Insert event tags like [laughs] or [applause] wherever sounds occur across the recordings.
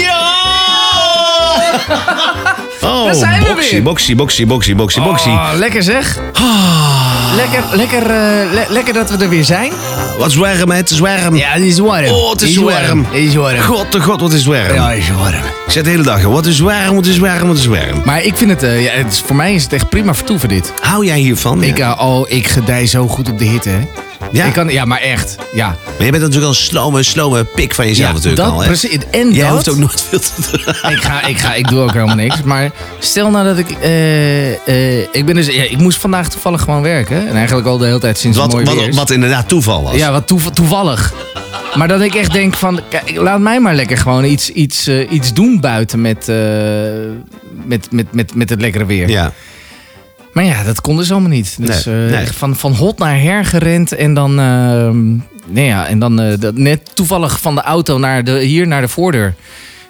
Ja! Oh, Daar zijn we boxie, weer. boxie, boxie, boxie, boxie, boxie. Oh, lekker zeg. Lekker, lekker, eh, le- lekker dat we er weer zijn. Wat zwerm, hè? Het is warm. het is warm. Oh, het is warm. Het is warm. God de god, wat is warm. Ja, het is warm. Ik zeg de hele dag, wat is warm, wat is warm, wat is warm. Maar ik vind het, eh, ja, het is- voor mij is het echt prima vertoeven dit. Hou jij hiervan? Ik, ja. eh, oh, ik gedij zo goed op de hitte, hè. Ja. Ik kan, ja, maar echt. Ja. Maar je bent natuurlijk al een slome, slome pik van jezelf eh, ja, natuurlijk dat al, hè? precies. En Jij dat... hoeft [laughs] ook nooit veel te [laughs] dragen. Ik, ga, ik, ga, ik doe ook helemaal niks. Maar stel nou dat ik... eh, eh, ik, ben dus, ja, ik moest vandaag toevallig gewoon werken. En eigenlijk al de hele tijd sinds het Wat, mooi weer wat, is. wat inderdaad toeval was. Ja, wat toe- toevallig. Maar dat ik echt denk van, kijk, laat mij maar lekker gewoon iets, iets, eh, iets doen buiten met, eh, met, met, met, met het lekkere weer. Ja. Maar ja, dat kon dus allemaal niet. Dus Nee, eh, nee. Van, van hot naar her gerend en dan, eh, nee ja, en dan eh, dat net toevallig van de auto naar de, hier naar de voordeur.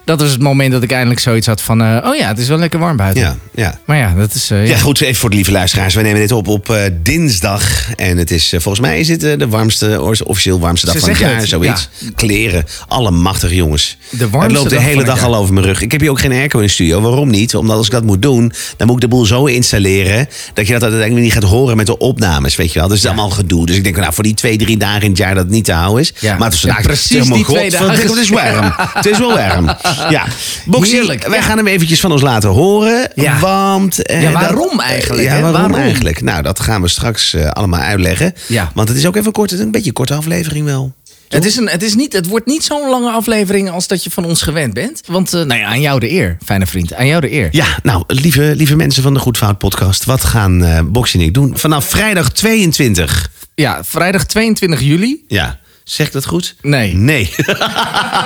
Dat was het moment dat ik eindelijk zoiets had van, eh, oh ja, het is wel lekker warm buiten. Ja, ja. Maar ja, dat is... eh, Ja, ja. goed, even voor de lieve luisteraars. We nemen dit op op eh, dinsdag. En het is, eh, volgens mij is dit eh, de warmste, or- officieel warmste dag Ze van het jaar. zeggen het, Zoiets. Kleren. Alle machtige jongens. De warmste het loopt de dag hele van het dag jaar. al over mijn rug. Ik heb hier ook geen airco in de studio. Waarom niet? Omdat als ik dat moet doen, dan moet ik de boel zo installeren... dat je dat uiteindelijk niet gaat horen met de opnames, weet je wel. Dus dat is allemaal gedoe. Dus ik denk, nou, voor die twee, drie dagen in het jaar dat het niet te houden is... Ja. Maar het is Ja, vandaag precies tegen mijn die twee godverdikke, dagen. Het is [laughs] warm. het is wel warm. Ja. Boxie, Heerlijk, wij ja. gaan hem eventjes van ons laten horen. Ja. Want... eh, Ja, dat- waarom eigenlijk, Ja, hè? waarom, Waarom? eigenlijk? Nou, dat gaan we straks eh, allemaal uitleggen. Ja. Want het is ook even kort, een beetje een korte aflevering wel. Het, is een, het, is niet, het wordt niet zo'n lange aflevering als dat je van ons gewend bent. Want eh, nou ja, aan jou de eer, fijne vriend. Aan jou de eer. Ja, nou, lieve, lieve mensen van de Goedfout podcast. Wat gaan eh Boxie en ik doen? Vanaf vrijdag 22. Ja, vrijdag 22 juli. Ja, zeg ik dat goed? Nee. Nee. [laughs]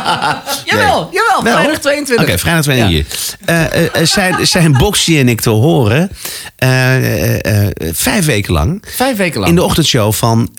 Jawel, jawel, Wel? vrijdag 22. Oké, vrijdag 22. Eh, eh, eh, zijn, zijn Boxie en ik te horen eh, eh, eh, vijf weken lang Vijf weken lang. in de ochtendshow van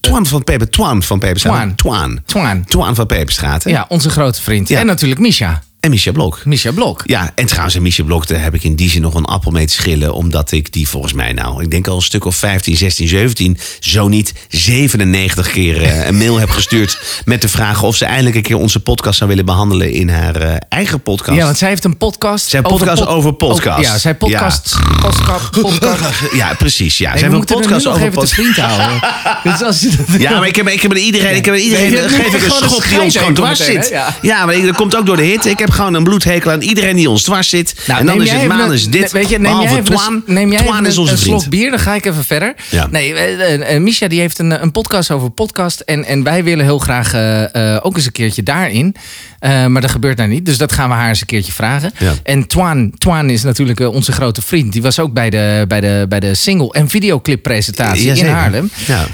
Twan van Peper. Twan van Peperstraat. Twan. Twan. Twan. Twan van Peperstraat. hè? Ja, onze grote vriend. En natuurlijk Misha. En Michel Blok. Misha Blok. Ja, en trouwens, een Michel Blok, daar heb ik in die zin nog een appel mee te schillen. Omdat ik die volgens mij nou, ik denk al een stuk of 15, 16, 17, zo niet 97 keer eh, een mail heb [laughs] gestuurd. Met de vraag of ze eindelijk een keer onze podcast zou willen behandelen in haar eh, eigen podcast. Ja, want zij heeft een podcast. Zij heeft een podcast pod- over podcast. Ja, zij podcast. [laughs] Podcast. podcast. Nee, Ja, precies. Ja. Ze we hebben een moeten er nu podcast nog over even podcast. te vriend houden. [laughs] dus als je dat Ja, maar ik heb, ik heb aan iedereen, ik heb aan iedereen eh, Nee, je hebt geef ik een gewoon een schop die ons gewoon scheidhekel dwars meteen, zit. hè? Ja, Ja. maar ik, dat komt ook door de hit. Ik heb gewoon een bloedhekel aan iedereen die ons dwars zit. en dan Nou, neem is jij het even maan een- is dit, Weet je, neem jij behalve even, Twan. een- neem jij Twan even is een- onze een vriend. slok bier, dan ga ik even verder. Ja. Nee, eh, eh, eh, Misha die heeft een, eh, een podcast over podcast. En, en wij willen heel graag eh, eh, ook eens een keertje daarin. Eh, maar dat gebeurt nou niet, dus dat gaan we haar eens een keertje vragen. Ja. En Twan, Twan is natuurlijk eh, onze grote vriend. Die was ook bij de, bij de, bij de single- en videoclippresentatie in Jazeker. Haarlem. Ja.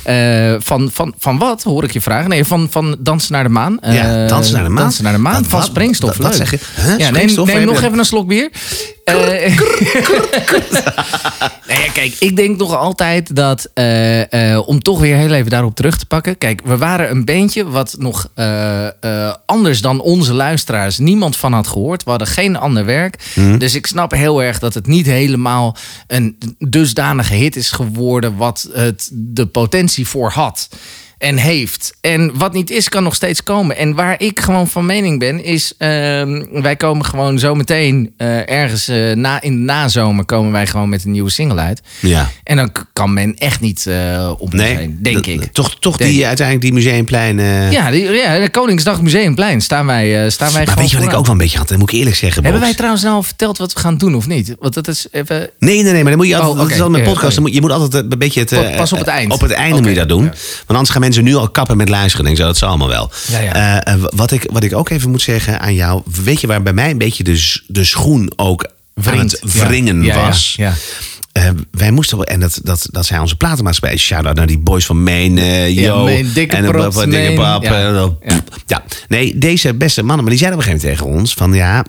Eh, van, van, van wat, hoor ik je vragen? Nee, van, van Dansen naar de Maan. Eh, Ja, Dansen naar de Maan. Dansen naar de Maan, Wat- van wat- Springstof. wat leuk. zeg je? Huh? Ja, neem, Springstof? neem Heb je nog dat- even een slok bier. Eh, [laughs] nou ja, kijk, ik denk nog altijd dat, eh, eh, om toch weer heel even daarop terug te pakken. Kijk, we waren een bandje wat nog eh, eh, anders dan onze luisteraars niemand van had gehoord. We hadden geen ander werk. Dus ik snap heel erg dat het niet helemaal een dusdanige hit is geworden wat het de potentie voor had. En heeft. En wat niet is, kan nog steeds komen. En waar ik gewoon van mening ben, is. ehm, wij komen gewoon zometeen. eh ergens eh, na, in de nazomer. komen wij gewoon met een nieuwe single uit. Ja. En dan k- kan men echt niet eh op ons heen, denk dat- ik. Toch, toch Denk die, uiteindelijk die museumplein. eh, Ja, die, ja, de Koningsdag Museumplein staan wij, eh, staan wij maar gewoon. weet je wat ik vooraan. ook wel een beetje had? Dat moet ik eerlijk zeggen. Hebben Bob. wij trouwens nou al verteld wat we gaan doen of niet? Want dat is even. Nee, nee, nee, maar dan moet je altijd, Oh, dat is oké, altijd ja, met podcast. dan moet- je moet altijd een beetje het... eh, Pas op het eind. Op het einde Oké, moet je dat doen. ja. Want anders gaan mensen nu al kappen met luisteren. Ik zeg, dat zal allemaal wel. Ja, ja. Eh, eh, wat, ik, wat ik ook even moet zeggen aan jou... Weet je waar bij mij een beetje de, s- de schoen ook aan Wringt, het ja. wringen Ja, ja, was? ja. Eh, wij moesten, wel- en dat, dat, dat zijn onze platenmaatschappij. Shout-out naar die boys van Maine, eh, yo. Maine, dikke en de props, papa, dikke Maine. pap. Ja. en dan- Ja. ja, nee, deze beste mannen, maar die zeiden op een gegeven moment tegen ons van ja,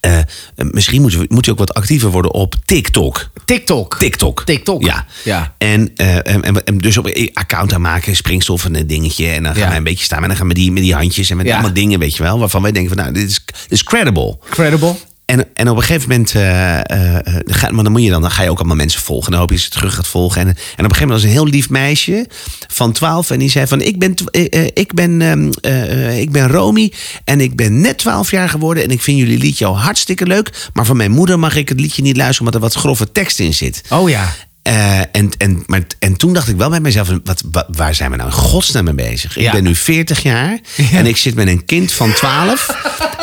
eh, misschien moet, je- moet je ook wat actiever worden op TikTok. TikTok. TikTok. TikTok. Ja. Ja. En, eh, en, en- en dus op een account aan maken, springstof en een dingetje. En dan gaan Ja. wij een beetje staan. En dan gaan we die, met die handjes en met Ja. allemaal dingen, weet je wel. Waarvan wij denken van nou, dit is, dit is credible. Credible. En, en op een gegeven moment, eh, eh, eh, ga, maar dan moet je dan, dan ga je ook allemaal mensen volgen. Dan hoop je dat ze terug gaat volgen. En, en op een gegeven moment was een heel lief meisje van 12 en die zei van ik ben, tw- eh, eh, ik ben, ehm, eh, eh, ik ben Romy en ik ben net 12 jaar geworden en ik vind jullie liedje al hartstikke leuk. Maar van mijn moeder mag ik het liedje niet luisteren omdat er wat grove tekst in zit. Oh ja. Eh, en, en, maar, en toen dacht ik wel bij mezelf, wat, wa- waar zijn we nou in godsnaam mee bezig? Ja. Ik ben nu 40 jaar en ik zit met een kind van 12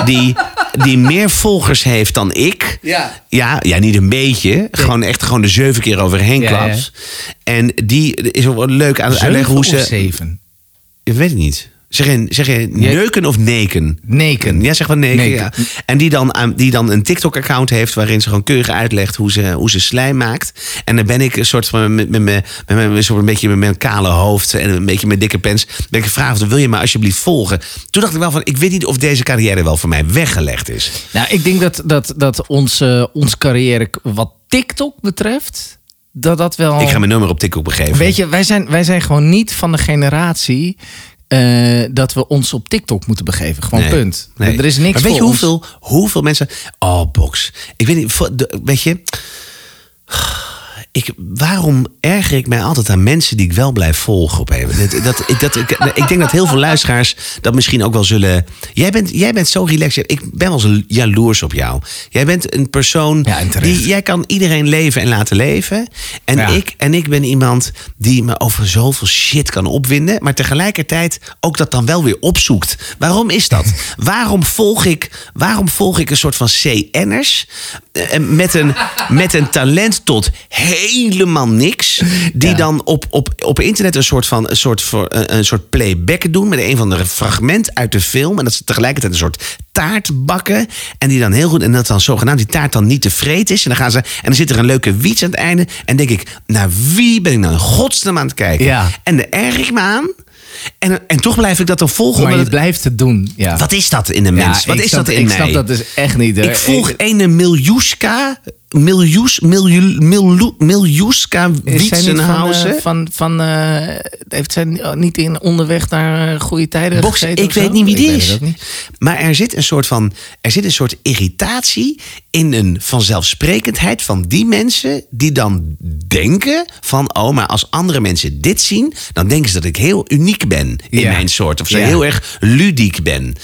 die, die meer volgers heeft dan ik. Ja. Ja, ja, niet een beetje. Gewoon echt gewoon de zeven keer overheen Ja, klapt. En die is ook wel leuk aan het uitleggen Zeven hoe of ze... zeven? Ik weet het niet. Zeg je, zeg je neuken of neken? Neken. Ja, zeg wel neken. Neken. Ja. En die dan, aan- die dan een TikTok-account heeft waarin ze gewoon keurig uitlegt hoe ze, hoe ze slijm maakt. En dan ben ik een soort van met, met, met, met, met- met- soort een beetje met mijn kale hoofd en een beetje met dikke pens. Ben ik gevraagd: wil je me alsjeblieft volgen? Toen dacht ik wel van: ik weet niet of deze carrière wel voor mij weggelegd is. Nou, ik denk dat, dat, dat onze, onze carrière k- wat TikTok betreft, dat dat wel... Ik ga mijn nummer op TikTok begeven. Oh. Weet je, wij zijn, wij zijn gewoon niet van de generatie eh, dat we ons op TikTok moeten begeven. Gewoon Nee, punt. nee. Er is niks Maar weet voor je ons. hoeveel, hoeveel mensen... Oh, box. Ik weet niet, voor- de- weet je... Ik, waarom erger ik mij altijd aan mensen die ik wel blijf volgen op even? Dat, dat, ik, dat, ik, ik denk dat heel veel luisteraars dat misschien ook wel zullen... Jij bent, jij bent zo relaxed. Ik ben wel eens jaloers op jou. Jij bent een persoon... Ja, en terecht. die, jij kan iedereen leven en laten leven. En, Ja. ik, en ik ben iemand die me over zoveel shit kan opwinden. Maar tegelijkertijd ook dat dan wel weer opzoekt. Waarom is [laughs] dat? waarom, volg ik, waarom volg ik een soort van CN'ers? eh, Met een, met een talent tot helemaal niks. Die Ja. dan op, op, op internet een soort, van, een, soort voor, een, een soort playback doen. Met een van de fragment uit de film. En dat ze tegelijkertijd een soort taart bakken. En die dan heel goed. En dat dan zogenaamd die taart dan niet te vreten is. En dan gaan ze. En dan zit er een leuke wiets aan het einde. En denk ik, naar wie ben ik nou in godsnaam aan het kijken? Ja. En daar erg ik me aan. En, en toch blijf ik dat dan volgen. Maar omdat je het- blijft het doen. Ja. wat is dat in de Ja, mens? Wat ik is snap- dat in Ik mij? snap dat dus echt niet. hoor. Ik volg Ik- ene Miljuska. Miljoes, miljoe, miljoe, Miljuska Is zij niet van, eh, Wietsenhausen. van, van eh, heeft zij niet in onderweg naar eh, goede tijden Box, gezeten ik of zo? weet niet wie die weet is. het ook niet. Maar er zit een soort van. Er zit een soort irritatie in een vanzelfsprekendheid van die mensen die dan denken van oh, maar als andere mensen dit zien, dan denken ze dat ik heel uniek ben in Ja. mijn soort. Of zo Ja. heel erg ludiek ben.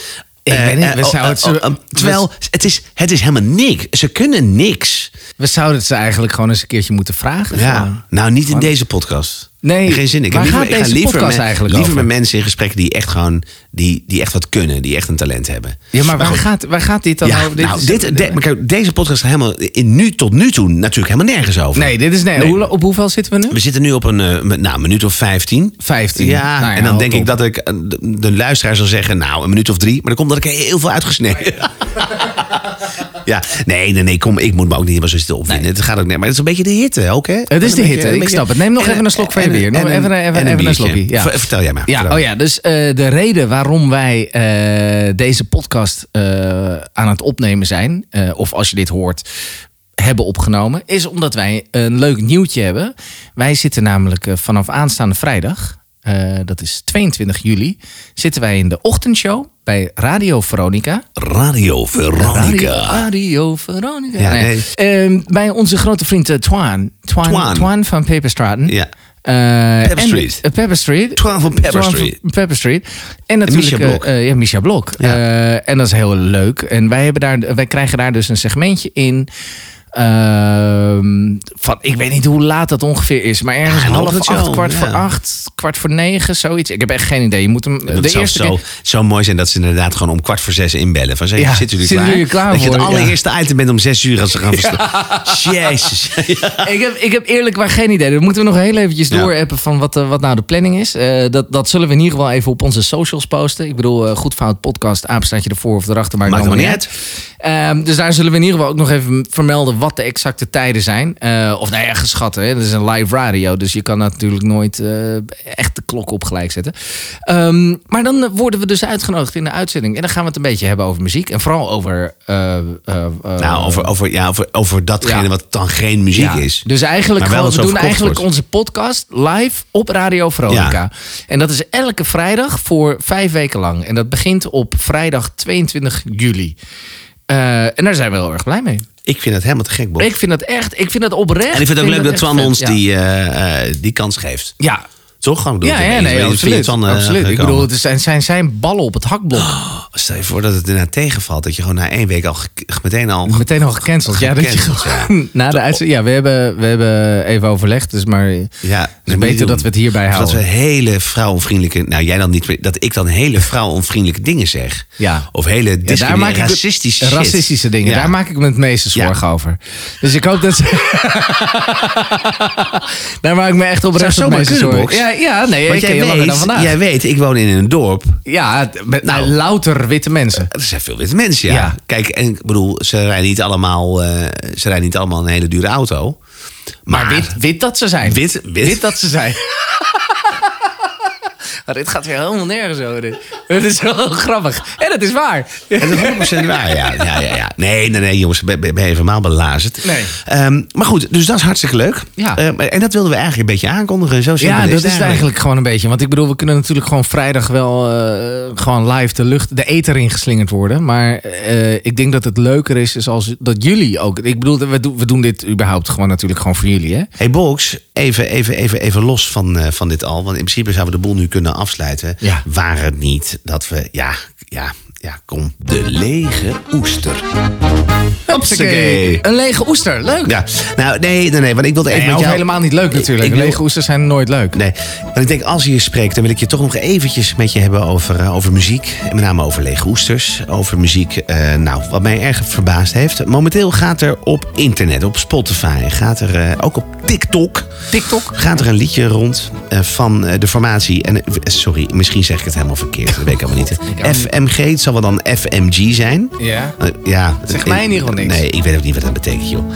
Ik Eh, weet niet, we eh, oh, zouden het oh, zo- oh, terwijl het is, het is helemaal niks. Ze kunnen niks. We zouden het ze eigenlijk gewoon eens een keertje moeten vragen. Gewoon. Ja, nou niet in deze podcast. Nee, geen zin. Ik, waar heb liever, gaat ik ga deze liever, podcast met, eigenlijk liever over? met mensen in gesprek die echt gewoon die, die echt wat kunnen, die echt een talent hebben. ja maar waar goed. gaat, waar gaat dit dan Ja, over? nou, is- dit, de- maar kijk, deze podcast gaat helemaal in nu, tot nu toe natuurlijk helemaal nergens over. nee, dit is... Nee, Nee. Hoe, op hoeveel zitten we nu? We zitten nu op een eh, m- nou, minuut of 15. 15. Ja, Nou ja, en dan houd denk ik op. dat ik eh, de, de luisteraar zal zeggen, nou, een minuut of drie. Maar dan komt dat ik er heel veel uitgesneden. Oh, [laughs] ja, nee, nee, nee, kom, ik moet me ook niet helemaal zo zitten opwinden. Het gaat ook net, maar het is een beetje de hitte ook, hè? Het is Een de beetje- hitte, een ik beetje- snap het. Neem nog en even een slok van je en bier. Nog en even- even- en even een biertje. slokje, ja. Ver- Vertel jij maar. Ja, vertel. oh ja, dus eh, de reden waarom wij eh, deze podcast eh, aan het opnemen zijn, eh, of als je dit hoort, hebben opgenomen, is omdat wij een leuk nieuwtje hebben. Wij zitten namelijk eh, vanaf aanstaande vrijdag, eh, dat is 22 juli, zitten wij in de ochtendshow bij Radio Veronica. Radio Veronica. Radio, oh. Radio Veronica. Ja, Nee. Ehm, bij onze grote vriend eh, Twan. Twan, Twan. Twan. van Paper Straten. Ja. Eh, Pepper en- Street. eh, Pepper Street. Twan van Pepper Twan Street. Pepper Street. En natuurlijk Misha eh, Blok. eh, ja, Misha Blok. Eh, en dat is heel leuk. En wij, hebben daar, wij krijgen daar dus een segmentje in. ehm, van, ik weet niet hoe laat dat ongeveer is, maar ergens Ja, een half ochtendshow, acht, kwart ja. voor acht, kwart voor negen, zoiets. Ik heb echt geen idee. Je moet hem Het de zou eerste zo, keer. zo mooi zijn dat ze inderdaad gewoon om kwart voor zes inbellen. Van, zeg, Ja, zitten jullie zitten klaar? jullie klaar dat je het voor? Ja. allereerste item bent om zes uur als ze gaan [laughs] verstaan. Jezus. ik, heb, ik heb eerlijk waar geen idee. Dan moeten we nog heel eventjes Ja. doorappen van wat, eh, wat nou de planning is. Eh, dat, dat zullen we in ieder geval even op onze socials posten. Ik bedoel, eh, goed fout podcast, apenstaatje ervoor of erachter, maakt Maakt allemaal niet helemaal uit. Ehm, dus daar zullen we in ieder geval ook nog even vermelden wat de exacte tijden zijn. Eh, of nou ja, geschat, hè. dat is een live radio, dus je kan dat natuurlijk nooit eh, echt de klok op gelijk zetten. Ehm, maar dan eh, worden we dus uitgenodigd in de uitzending. En dan gaan we het een beetje hebben over muziek en vooral over... eh, eh, eh, Nou, over, over, ja, over, over datgene Ja. wat dan geen muziek is. dus eigenlijk, Maar wel gewoon, dat we zo doen verkocht eigenlijk wordt. onze podcast live op Radio Veronica. En dat is elke vrijdag voor vijf weken lang. En dat begint op vrijdag 22 juli. Eh, en daar zijn we heel erg blij mee. Ik vind het helemaal te gek, Bob. Ik vind dat echt, ik vind dat oprecht. en ik vind het ook leuk dat echt Twan vet, ons ja. die, eh, eh, die kans geeft. Ja, Toch? Ik bedoel, ja, ik ja weet niet, nee, via absoluut. Twan, eh, absoluut. Ik gekomen. Oh. bedoel, het zijn, zijn, zijn ballen op het hakblok. Stel je voor dat het daarna tegenvalt. Dat je gewoon na één week al ge- meteen [laughs] al... Meteen al gecanceld. Ja, dat je Gecanceld, gewoon [laughs] na de uitzending. Ja, we hebben, we hebben even overlegd, dus maar. Ja, dat moet je beter doen. dat we het hierbij Of houden. Dat we hele vrouwonvriendelijke... Nou, jij dan niet. maar Dat ik dan hele vrouwonvriendelijke dingen zeg. Ja. Of Ja, hele daar maak discriminerende, ik het- racistische shit. racistische dingen. Ja. Daar maak ik me het meeste Ja. zorgen over. Dus ik hoop dat ze... [laughs] daar maak ik me echt oprecht het Zou zomaar meeste kunnen, zorgen. Box. Ja, ja, nee, Want ik ken jij je langer dan weet, vandaag. jij weet, ik woon in een dorp. Ja, met Nou. Eh, nou, louter witte mensen. Er zijn veel witte mensen, ja. Ja. Kijk, en ik bedoel, ze rijden niet allemaal, eh, ze rijden niet allemaal een hele dure auto. Maar, Maar, wit, wit dat ze zijn. Wit, wit. dat ze zijn. [laughs] Maar dit gaat weer helemaal nergens over. Dit. [laughs] Het is wel grappig. En het is waar. En dat is 100% waar, ja. ja, ja, ja. Nee, nee, nee, jongens, ben, ben ben je helemaal belazerd. Nee. Ehm, maar goed, dus dat is hartstikke leuk. Ja. Ehm, en dat wilden we eigenlijk een beetje aankondigen. Zo simpel Ja, dat is het het eigenlijk gewoon een beetje. Want ik bedoel, we kunnen natuurlijk gewoon vrijdag wel eh, gewoon live de lucht, de eter ingeslingerd worden. Maar eh, ik denk dat het leuker is, is als dat jullie ook. Ik bedoel, we, doen we doen dit überhaupt gewoon natuurlijk gewoon voor jullie, hè? Hey Box, even, even, even, even los van, eh, van dit al. Want in principe zouden we de boel nu kunnen afsluiten. Ja. Waar het niet dat we... Ja, ja, ja, kom. De lege oester. Hupsakee. Een lege oester, leuk. Ja, nou nee, nee, nee, want ik wilde even Nee, met ook jou... helemaal niet leuk natuurlijk. Ik wil- Lege oesters zijn nooit leuk. Nee, want ik denk als je hier spreekt, dan wil ik je toch nog eventjes met je hebben over, eh, over muziek. En met name over lege oesters. Over muziek, eh, nou, wat mij erg verbaasd heeft. Momenteel gaat er op internet, op Spotify, gaat er eh, ook op TikTok... TikTok. Gaat er een liedje rond eh, van eh, de formatie. En, eh, sorry, misschien zeg ik het helemaal verkeerd. Dat weet ik [laughs] helemaal niet. kan FMG, het zal wel dan FMG zijn. Ja. Eh, ja. Zegt mij in ieder geval niks. Nee, ik weet ook niet wat dat betekent, joh.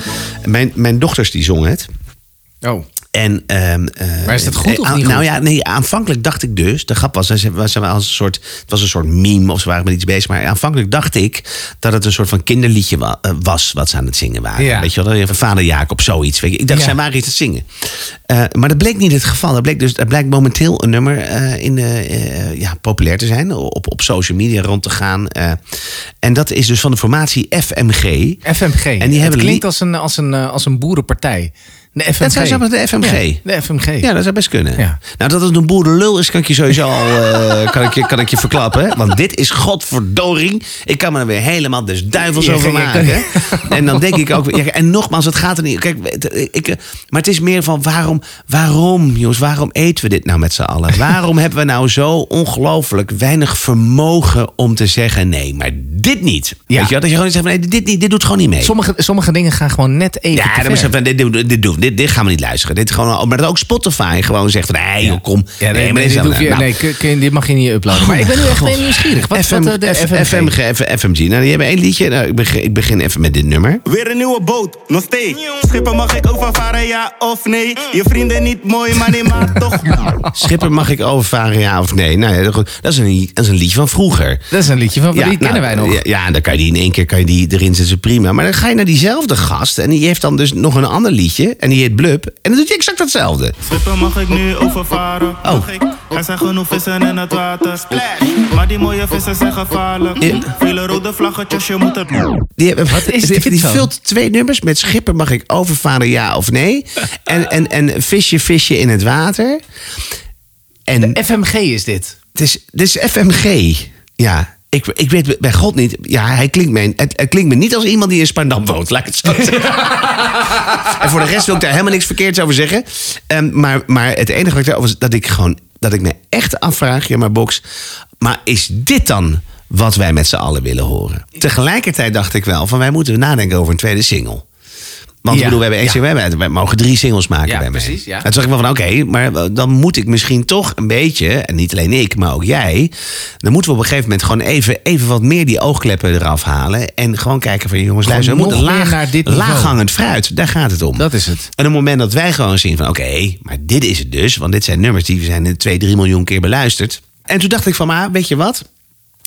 Mijn, mijn dochters die zongen het. Oh. En, ehm, eh, Maar is dat goed of eh, niet Nou goed? ja, nee, aanvankelijk dacht ik dus... De grap was, ze, ze- ze waren als een soort, het was een soort meme of ze waren met iets bezig. Maar aanvankelijk dacht ik dat het een soort van kinderliedje wa- eh, was... wat ze aan het zingen waren. Ja. Weet je wel, even vader Jacob, zoiets. Weet je. Ik dacht, Ja. zij waren iets aan het zingen. Eh, maar dat bleek niet het geval. Dat bleek dus, er blijkt momenteel een nummer eh, in, eh, eh, ja, populair te zijn. Op, op social media rond te gaan. eh. en dat is dus van de formatie FMG. FMG. En hebben die het lied- klinkt als een, als, een, eh, als een boerenpartij. De FMG. zijn ze met de FMG. Ja, de FMG. Ja, dat zou best kunnen. Ja. Nou, dat het een boerenlul is, kan ik je sowieso al eh, kan ik je, kan ik je verklappen. hè. Want dit is godverdoring. Ik kan me er weer helemaal dus duivels Je- je- over je- maken. En dan denk ik ook... weer- ja, en nogmaals, het gaat er niet... Kijk, het- ik, eh, maar het is meer van waarom... Waarom, jongens, waarom eten we dit nou met z'n allen? Waarom hebben we nou zo ongelooflijk weinig vermogen om te zeggen... nee, maar dit niet. Ja. Weet je wel? Dat je gewoon zegt van nee, dit, niet, dit doet gewoon niet mee. Sommige, sommige dingen gaan gewoon net even te Ja, ver. dan moet je zeggen, van, dit, dit, dit, doen- dit, dit gaan we niet luisteren. Dit gewoon, maar dat ook Spotify gewoon zegt van, nee, joh, kom. Ja, nee, nee, maar dit dit, is hoef je, nou, nee kun- kun je- dit mag je niet uploaden. maar ik ben nu echt even nieuwsgierig. Wat, FM, wat, eh, de F- FMG? FMG, F- FMG. Nou, die hebben één liedje. Nou, ik, begin, ik begin even met dit nummer. Oh. Weer een nieuwe boot, nog steeds. Schippen mag ik overvaren, ja of nee? Je vrienden niet mooi, maar nee, maar toch. Schipper mag ik overvaren, ja of nee? Nou, ja, goed. dat, is een, dat is een liedje van vroeger. Dat is een liedje van, die nou, kennen wij nog. Ja, ja, dan kan je die in één keer kan je die erin zetten, prima. Maar dan ga je naar diezelfde gast en die heeft dan dus nog een ander liedje. En die heet Blub. En dan doet hij exact hetzelfde. Schippen mag ik nu overvaren? Mag ik? Er zijn genoeg vissen in het water. Maar die mooie vissen zijn gevaarlijk. Ja. Vele rode vlaggetjes, je moet het Die, Wat is dit [laughs] die dan? vult twee nummers met schipper mag ik overvaren, ja of nee. En, en, en visje, visje in het water. En het FMG is dit. is, het is FMG. Ja, ik, ik weet bij God niet. Ja, hij klinkt me, het, het klinkt me niet als iemand die in Spandam woont, laat ik het [laughs] zo zeggen. en voor de rest wil ik daar helemaal niks verkeerds over zeggen. Ehm, maar, maar het enige wat ik daarover is dat ik gewoon dat ik me echt afvraag, ja maar Box, maar is dit dan wat wij met z'n allen willen horen? Tegelijkertijd dacht ik wel van wij moeten nadenken over een tweede single. Want ik Ja, bedoel, we hebben één ja. single, we, hebben, we mogen drie singles maken Ja, bij mij. precies, ja. En toen dacht ik wel van oké, maar dan moet ik misschien toch een beetje, en niet alleen ik, maar ook jij, dan moeten we op een gegeven moment gewoon even, even wat meer die oogkleppen eraf halen en gewoon kijken van jongens, Gewoon luister, we moeten nog meer laag, naar dit niveau. laaghangend fruit, daar gaat het om. Dat is het. En op het moment dat wij gewoon zien van oké, maar dit is het dus. Want dit zijn nummers die zijn 2, 3 miljoen keer beluisterd. En toen dacht ik van maar, weet je wat?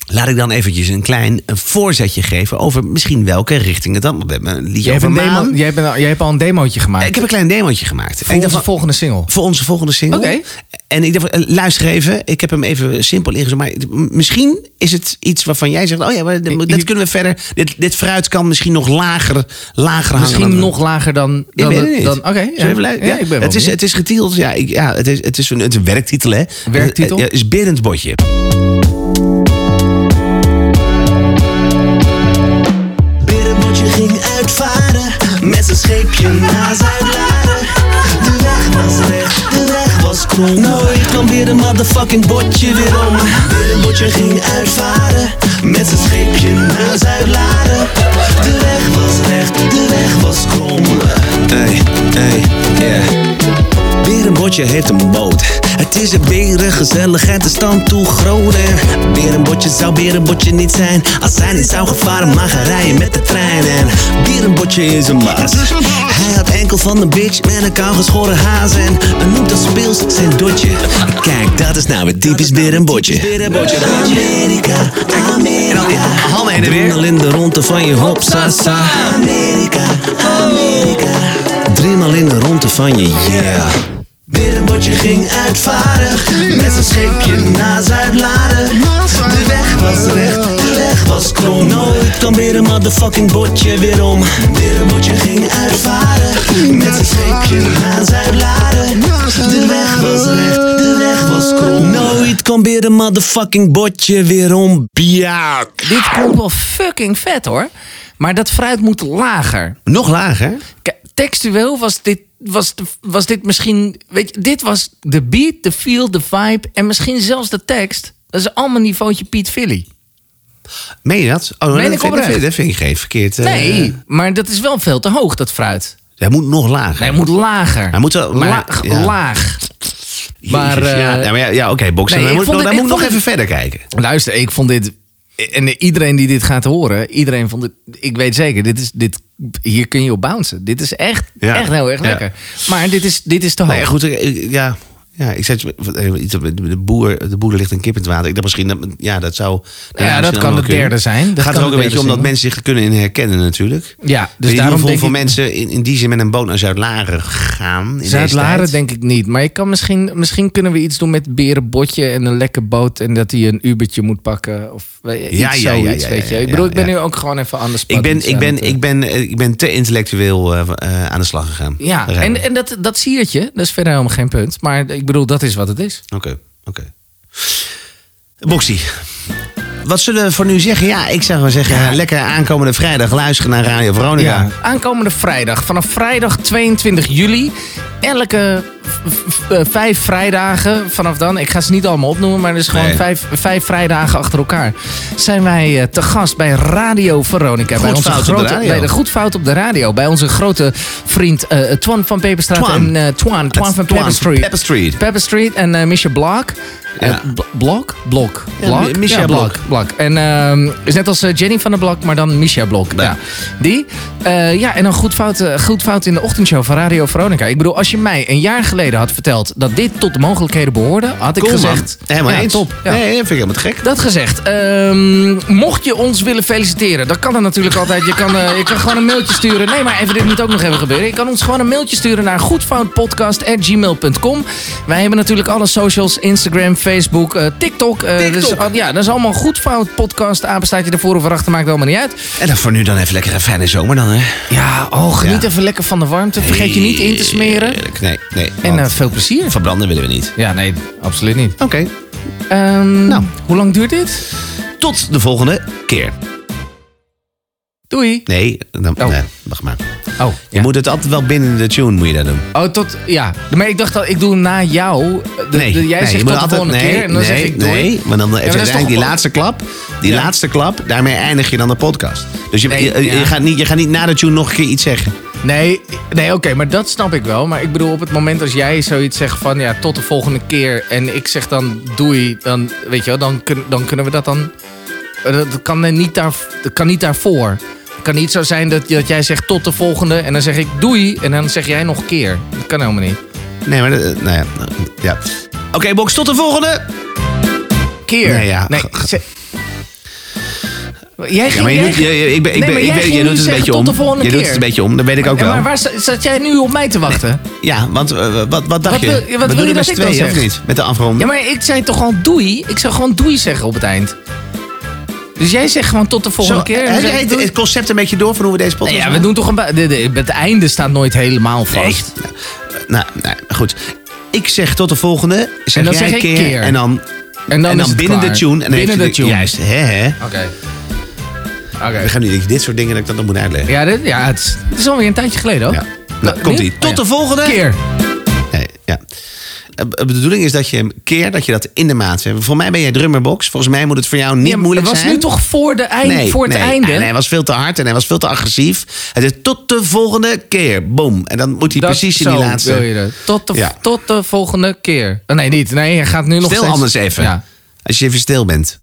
Laat ik dan eventjes een klein eh, voorzetje geven over misschien welke richting het dan. We hebben een liedje Jij hebt, over een demo- maan. jij, bent al- jij hebt al een demootje gemaakt. Ik heb een klein demootje gemaakt. voor ik onze dacht van, volgende single. voor onze volgende single. Oké. En ik dacht, eh, luister even, ik heb hem even simpel ingezet. Maar het- m- misschien is het iets waarvan jij zegt: Oh ja, maar dit, dit kunnen we verder. Dit, dit fruit kan misschien nog lager, lager hangen. Misschien dan- nog lager dan... Ik dan, weet het niet. dan- Oké, Zullen ja. we even luisteren? Ja, Ja. ik ben wel het, is, benieuwd. het is getield, ja, ik, ja het, is, het, is een, het is een werktitel, hè? Eh, Werktitel? Ja, Het is Biddend Botje. Binnenbootje ging uitvaren met zijn scheepje naar Zuidlaren. De weg was recht, de weg was krom. Nooit kwam weer een motherfucking botje weer om. Binnenbootje ging uitvaren met zijn scheepje naar Zuidlaren. De weg was recht, de weg was krom. Hey, hey, yeah. Berenbotje heeft een boot. Het is een beren, gezelligheid de stand toe groot. En Berenbotje zou Berenbotje niet zijn als hij niet zou gevaren, maar gaan rijden met de trein. En Berenbotje is een baas. Hij had enkel van de bitch met een kou geschoren haas en een noemt als speels zijn dotje. Kijk, dat is nou weer typisch Berenbotje. Berenbotje, Amerika, Amerika. Handen heen en weer. Driemaal in de ronde van je hop, sa, sa. Amerika, Amerika. Driemaal in de ronde van je yeah. Binnenbotje ging uitvaren met zijn scheepje naar Zuidlaren. De weg was recht, de weg was krom. Nooit kwam weer een motherfucking botje weer om. Binnenbotje ging uitvaren met zijn scheepje naar Zuidlaren. De weg was recht, de weg was krom. Nooit kwam weer een motherfucking botje weer om. Biak. Dit komt wel fucking vet hoor. Maar dat fruit moet lager. Nog lager? Kijk, textueel was dit, was, de- was dit misschien... Weet je, dit was de beat, de feel, de vibe... en misschien zelfs de tekst. Dat is allemaal niveautje Piet Philly. Meen je dat? Oh, Meen dat, ik vind, dat, oprecht. vind, dat vind ik geen verkeerd. eh, Nee, maar dat is wel veel te hoog, dat fruit. Hij moet nog lager. Nee, hij moet lager. Hij moet wel Maar laag, g- ja. laag. Jezus, Maar, eh, ja, Nou, ja, maar ja, ja, oké, boksen. nee, daar ik moet, ik vond het- nog- daar moet ik ik nog vond even verder kijken. Luister, ik vond dit... En iedereen die dit gaat horen, iedereen vond het... Ik weet zeker, dit is, dit, hier kun je op bouncen. Dit is echt, Ja. echt heel erg Ja. lekker. Maar dit is, dit is te hoog. Nou ja, goed. ik- ik- Ja, ja ik zei eh, iets op- de boer, de boer ligt een kip in het water. Ik dacht misschien dat ja, dat zou. Ja, dat misschien kan allemaal het kunnen. derde zijn. Dat Gaat kan er het ook een beetje derde om dat zijn. mensen zich kunnen in herkennen natuurlijk. Ja, dus daarom dus daarom denk hoeveel ik- mensen in, in die zin met een boot naar Zuid-Laren gaan. in deze Zuid-Laren tijd? denk ik niet. Maar ik kan misschien, misschien kunnen we iets doen met berenbotje en een lekker boot. En dat hij een Ubertje moet pakken. Of eh, iets ja, ja, zoiets, ja, ja, weet je. ja, Ik bedoel, ja, ik ben ja. nu ook gewoon even anders. Ik ben, ik, ben, ik, ben, eh, ik ben te intellectueel eh, eh, aan de slag gegaan. Ja, Rijden. en, en dat, dat siertje, dat is verder helemaal geen punt. Maar ik bedoel, dat is wat het is. Oké, oké. Boxie. Wat zullen we voor nu zeggen? Ja, ik zou gewoon zeggen, eh, lekker aankomende vrijdag luisteren naar Radio Veronica. Aankomende vrijdag, vanaf vrijdag 22 juli. Elke v- v- eh, vijf vrijdagen vanaf dan, ik ga ze niet allemaal opnoemen, maar er is gewoon Nee. vijf, vijf vrijdagen achter elkaar. Zijn wij eh, te gast bij Radio Veronica. bij Goed fout op de grote, radio. Bij de goed fout op de radio. Bij onze grote vriend eh Twan van Peperstraat Twan. en eh, Twan, Twan is van Twan Pepper Street. Pepper Street. Pepper Street en eh Misha Blok. Eh, Ja. Bl- Blok? Blok. Ja, Blok? Mi- Misha Blok. Blok. En ehm, is net als eh, Jenny van der Blok, maar dan Misha Blok. Ja. Ja. Die. Eh, ja, en dan goed fout, eh, goed fout in de ochtendshow van Radio Veronica. Ik bedoel, als je mij een jaar geleden had verteld dat dit tot de mogelijkheden behoorde, had ik Cool, man. gezegd... Helemaal ja, eens. top. Ja. Nee, dat vind ik helemaal te gek. Dat gezegd, ehm, mocht je ons willen feliciteren, dat kan dat natuurlijk altijd. Je kan, eh, je kan gewoon een mailtje sturen. Nee, maar even dit moet ook nog even gebeuren. Je kan ons gewoon een mailtje sturen naar goedfoutpodcast.gmail.com. Wij hebben natuurlijk alle socials, Instagram, Facebook, eh, TikTok. eh, TikTok. dus, ah, ja, dat is allemaal goedfoutpodcast. Apenstaat je ervoor of erachter, maakt wel maar niet uit. En dan voor nu dan even lekker een fijne zomer dan, hè? Ja, oh, geniet Ja. even lekker van de warmte. Vergeet je niet in te smeren. Heerlijk. Nee, nee. En want eh, veel plezier. verbranden willen we niet. Ja, nee, absoluut niet. Oké, Ehm, Nou. Hoe lang duurt dit? tot de volgende keer. Doei. Nee, dan, Oh. nee, wacht maar. Oh, Je moet het altijd wel binnen de tune moet je dat doen. Oh, tot, ja. Maar ik dacht dat ik doe na jou. De, nee, de- jij nee, zegt je tot moet de volgende nee, keer en dan nee, zeg ik doei. Nee, maar dan dat is uiteindelijk toch- die laatste klap, die Ja. laatste klap, daarmee eindig je dan de podcast. Dus je, Nee, je, je ja. gaat, niet, je gaat niet na de tune nog een keer iets zeggen. Nee, nee oké, maar dat snap ik wel. Maar ik bedoel, op het moment als jij zoiets zegt van ja, tot de volgende keer. En ik zeg dan doei, dan weet je wel, dan, kun- dan kunnen we dat dan. eh, Dat dat kan, eh, niet daar, dat kan niet daarvoor. Het kan niet zo zijn dat, dat jij zegt tot de volgende en dan zeg ik doei en dan zeg jij nog een keer. Dat kan helemaal niet. Nee, maar dat- eh, nou ja. nou, ja. Oké, Box, tot de volgende! Keer. Nee, ja. Nee, ze- Jij ging, Ja, maar je jij doet, ging- je, je- ik ben, ik Nee, ben, maar ik jij ben- ging jij nu doet het een zeggen, beetje tot om. de volgende Je doet keer. het een beetje om, dat weet ik ook Ja, wel. maar waar za- zat jij nu op mij te wachten? Ja, want eh, wat, wat dacht Wat wil- je? wat wil je doen er dat met z'n ik dan tweeën, zeg? of niet? Met de afrond. Ja, maar ik zei toch gewoon doei? Ik zou gewoon doei zeggen op het eind. Dus jij zegt gewoon tot de volgende keer. en dan heb zeg jij ik eh, het, doei. het concept een beetje door van hoe we deze Nee, podcast ja, we doen toch een... ba- de- de- Het einde staat nooit helemaal vast. eh, Nee. Nou, nou, goed. Ik zeg tot de volgende. Zeg En dan jij zeg ik keer, keer. En dan, En dan, en is dan het binnen klaar. de tune. En dan binnen heeft de tune. hij Juist, hè, hè. Oké. Oké. We gaan nu dit soort dingen dat ik dat nog moet uitleggen. Ja, dit, ja het, is, het is alweer een tijdje geleden, hoor. Ja. Nou, komt ie. nu? Tot Oh, ja. de volgende Keer. Nee, ja. Eh, De bedoeling is dat je hem keer dat je dat in de maat hebt. Voor mij ben jij drummerbox. Volgens mij moet het voor jou niet Ja, maar moeilijk het was zijn. nu toch voor, de eind, Nee, voor het nee. einde? En hij was veel te hard en hij was veel te agressief. Het is tot de volgende keer. Boom. En dan moet hij Dat- precies in zo die laatste. wil je dat. Tot de, Ja. tot de volgende keer. Oh, nee, niet. Nee, hij gaat nu nog Stil steeds... anders even. Ja. Als je even stil bent.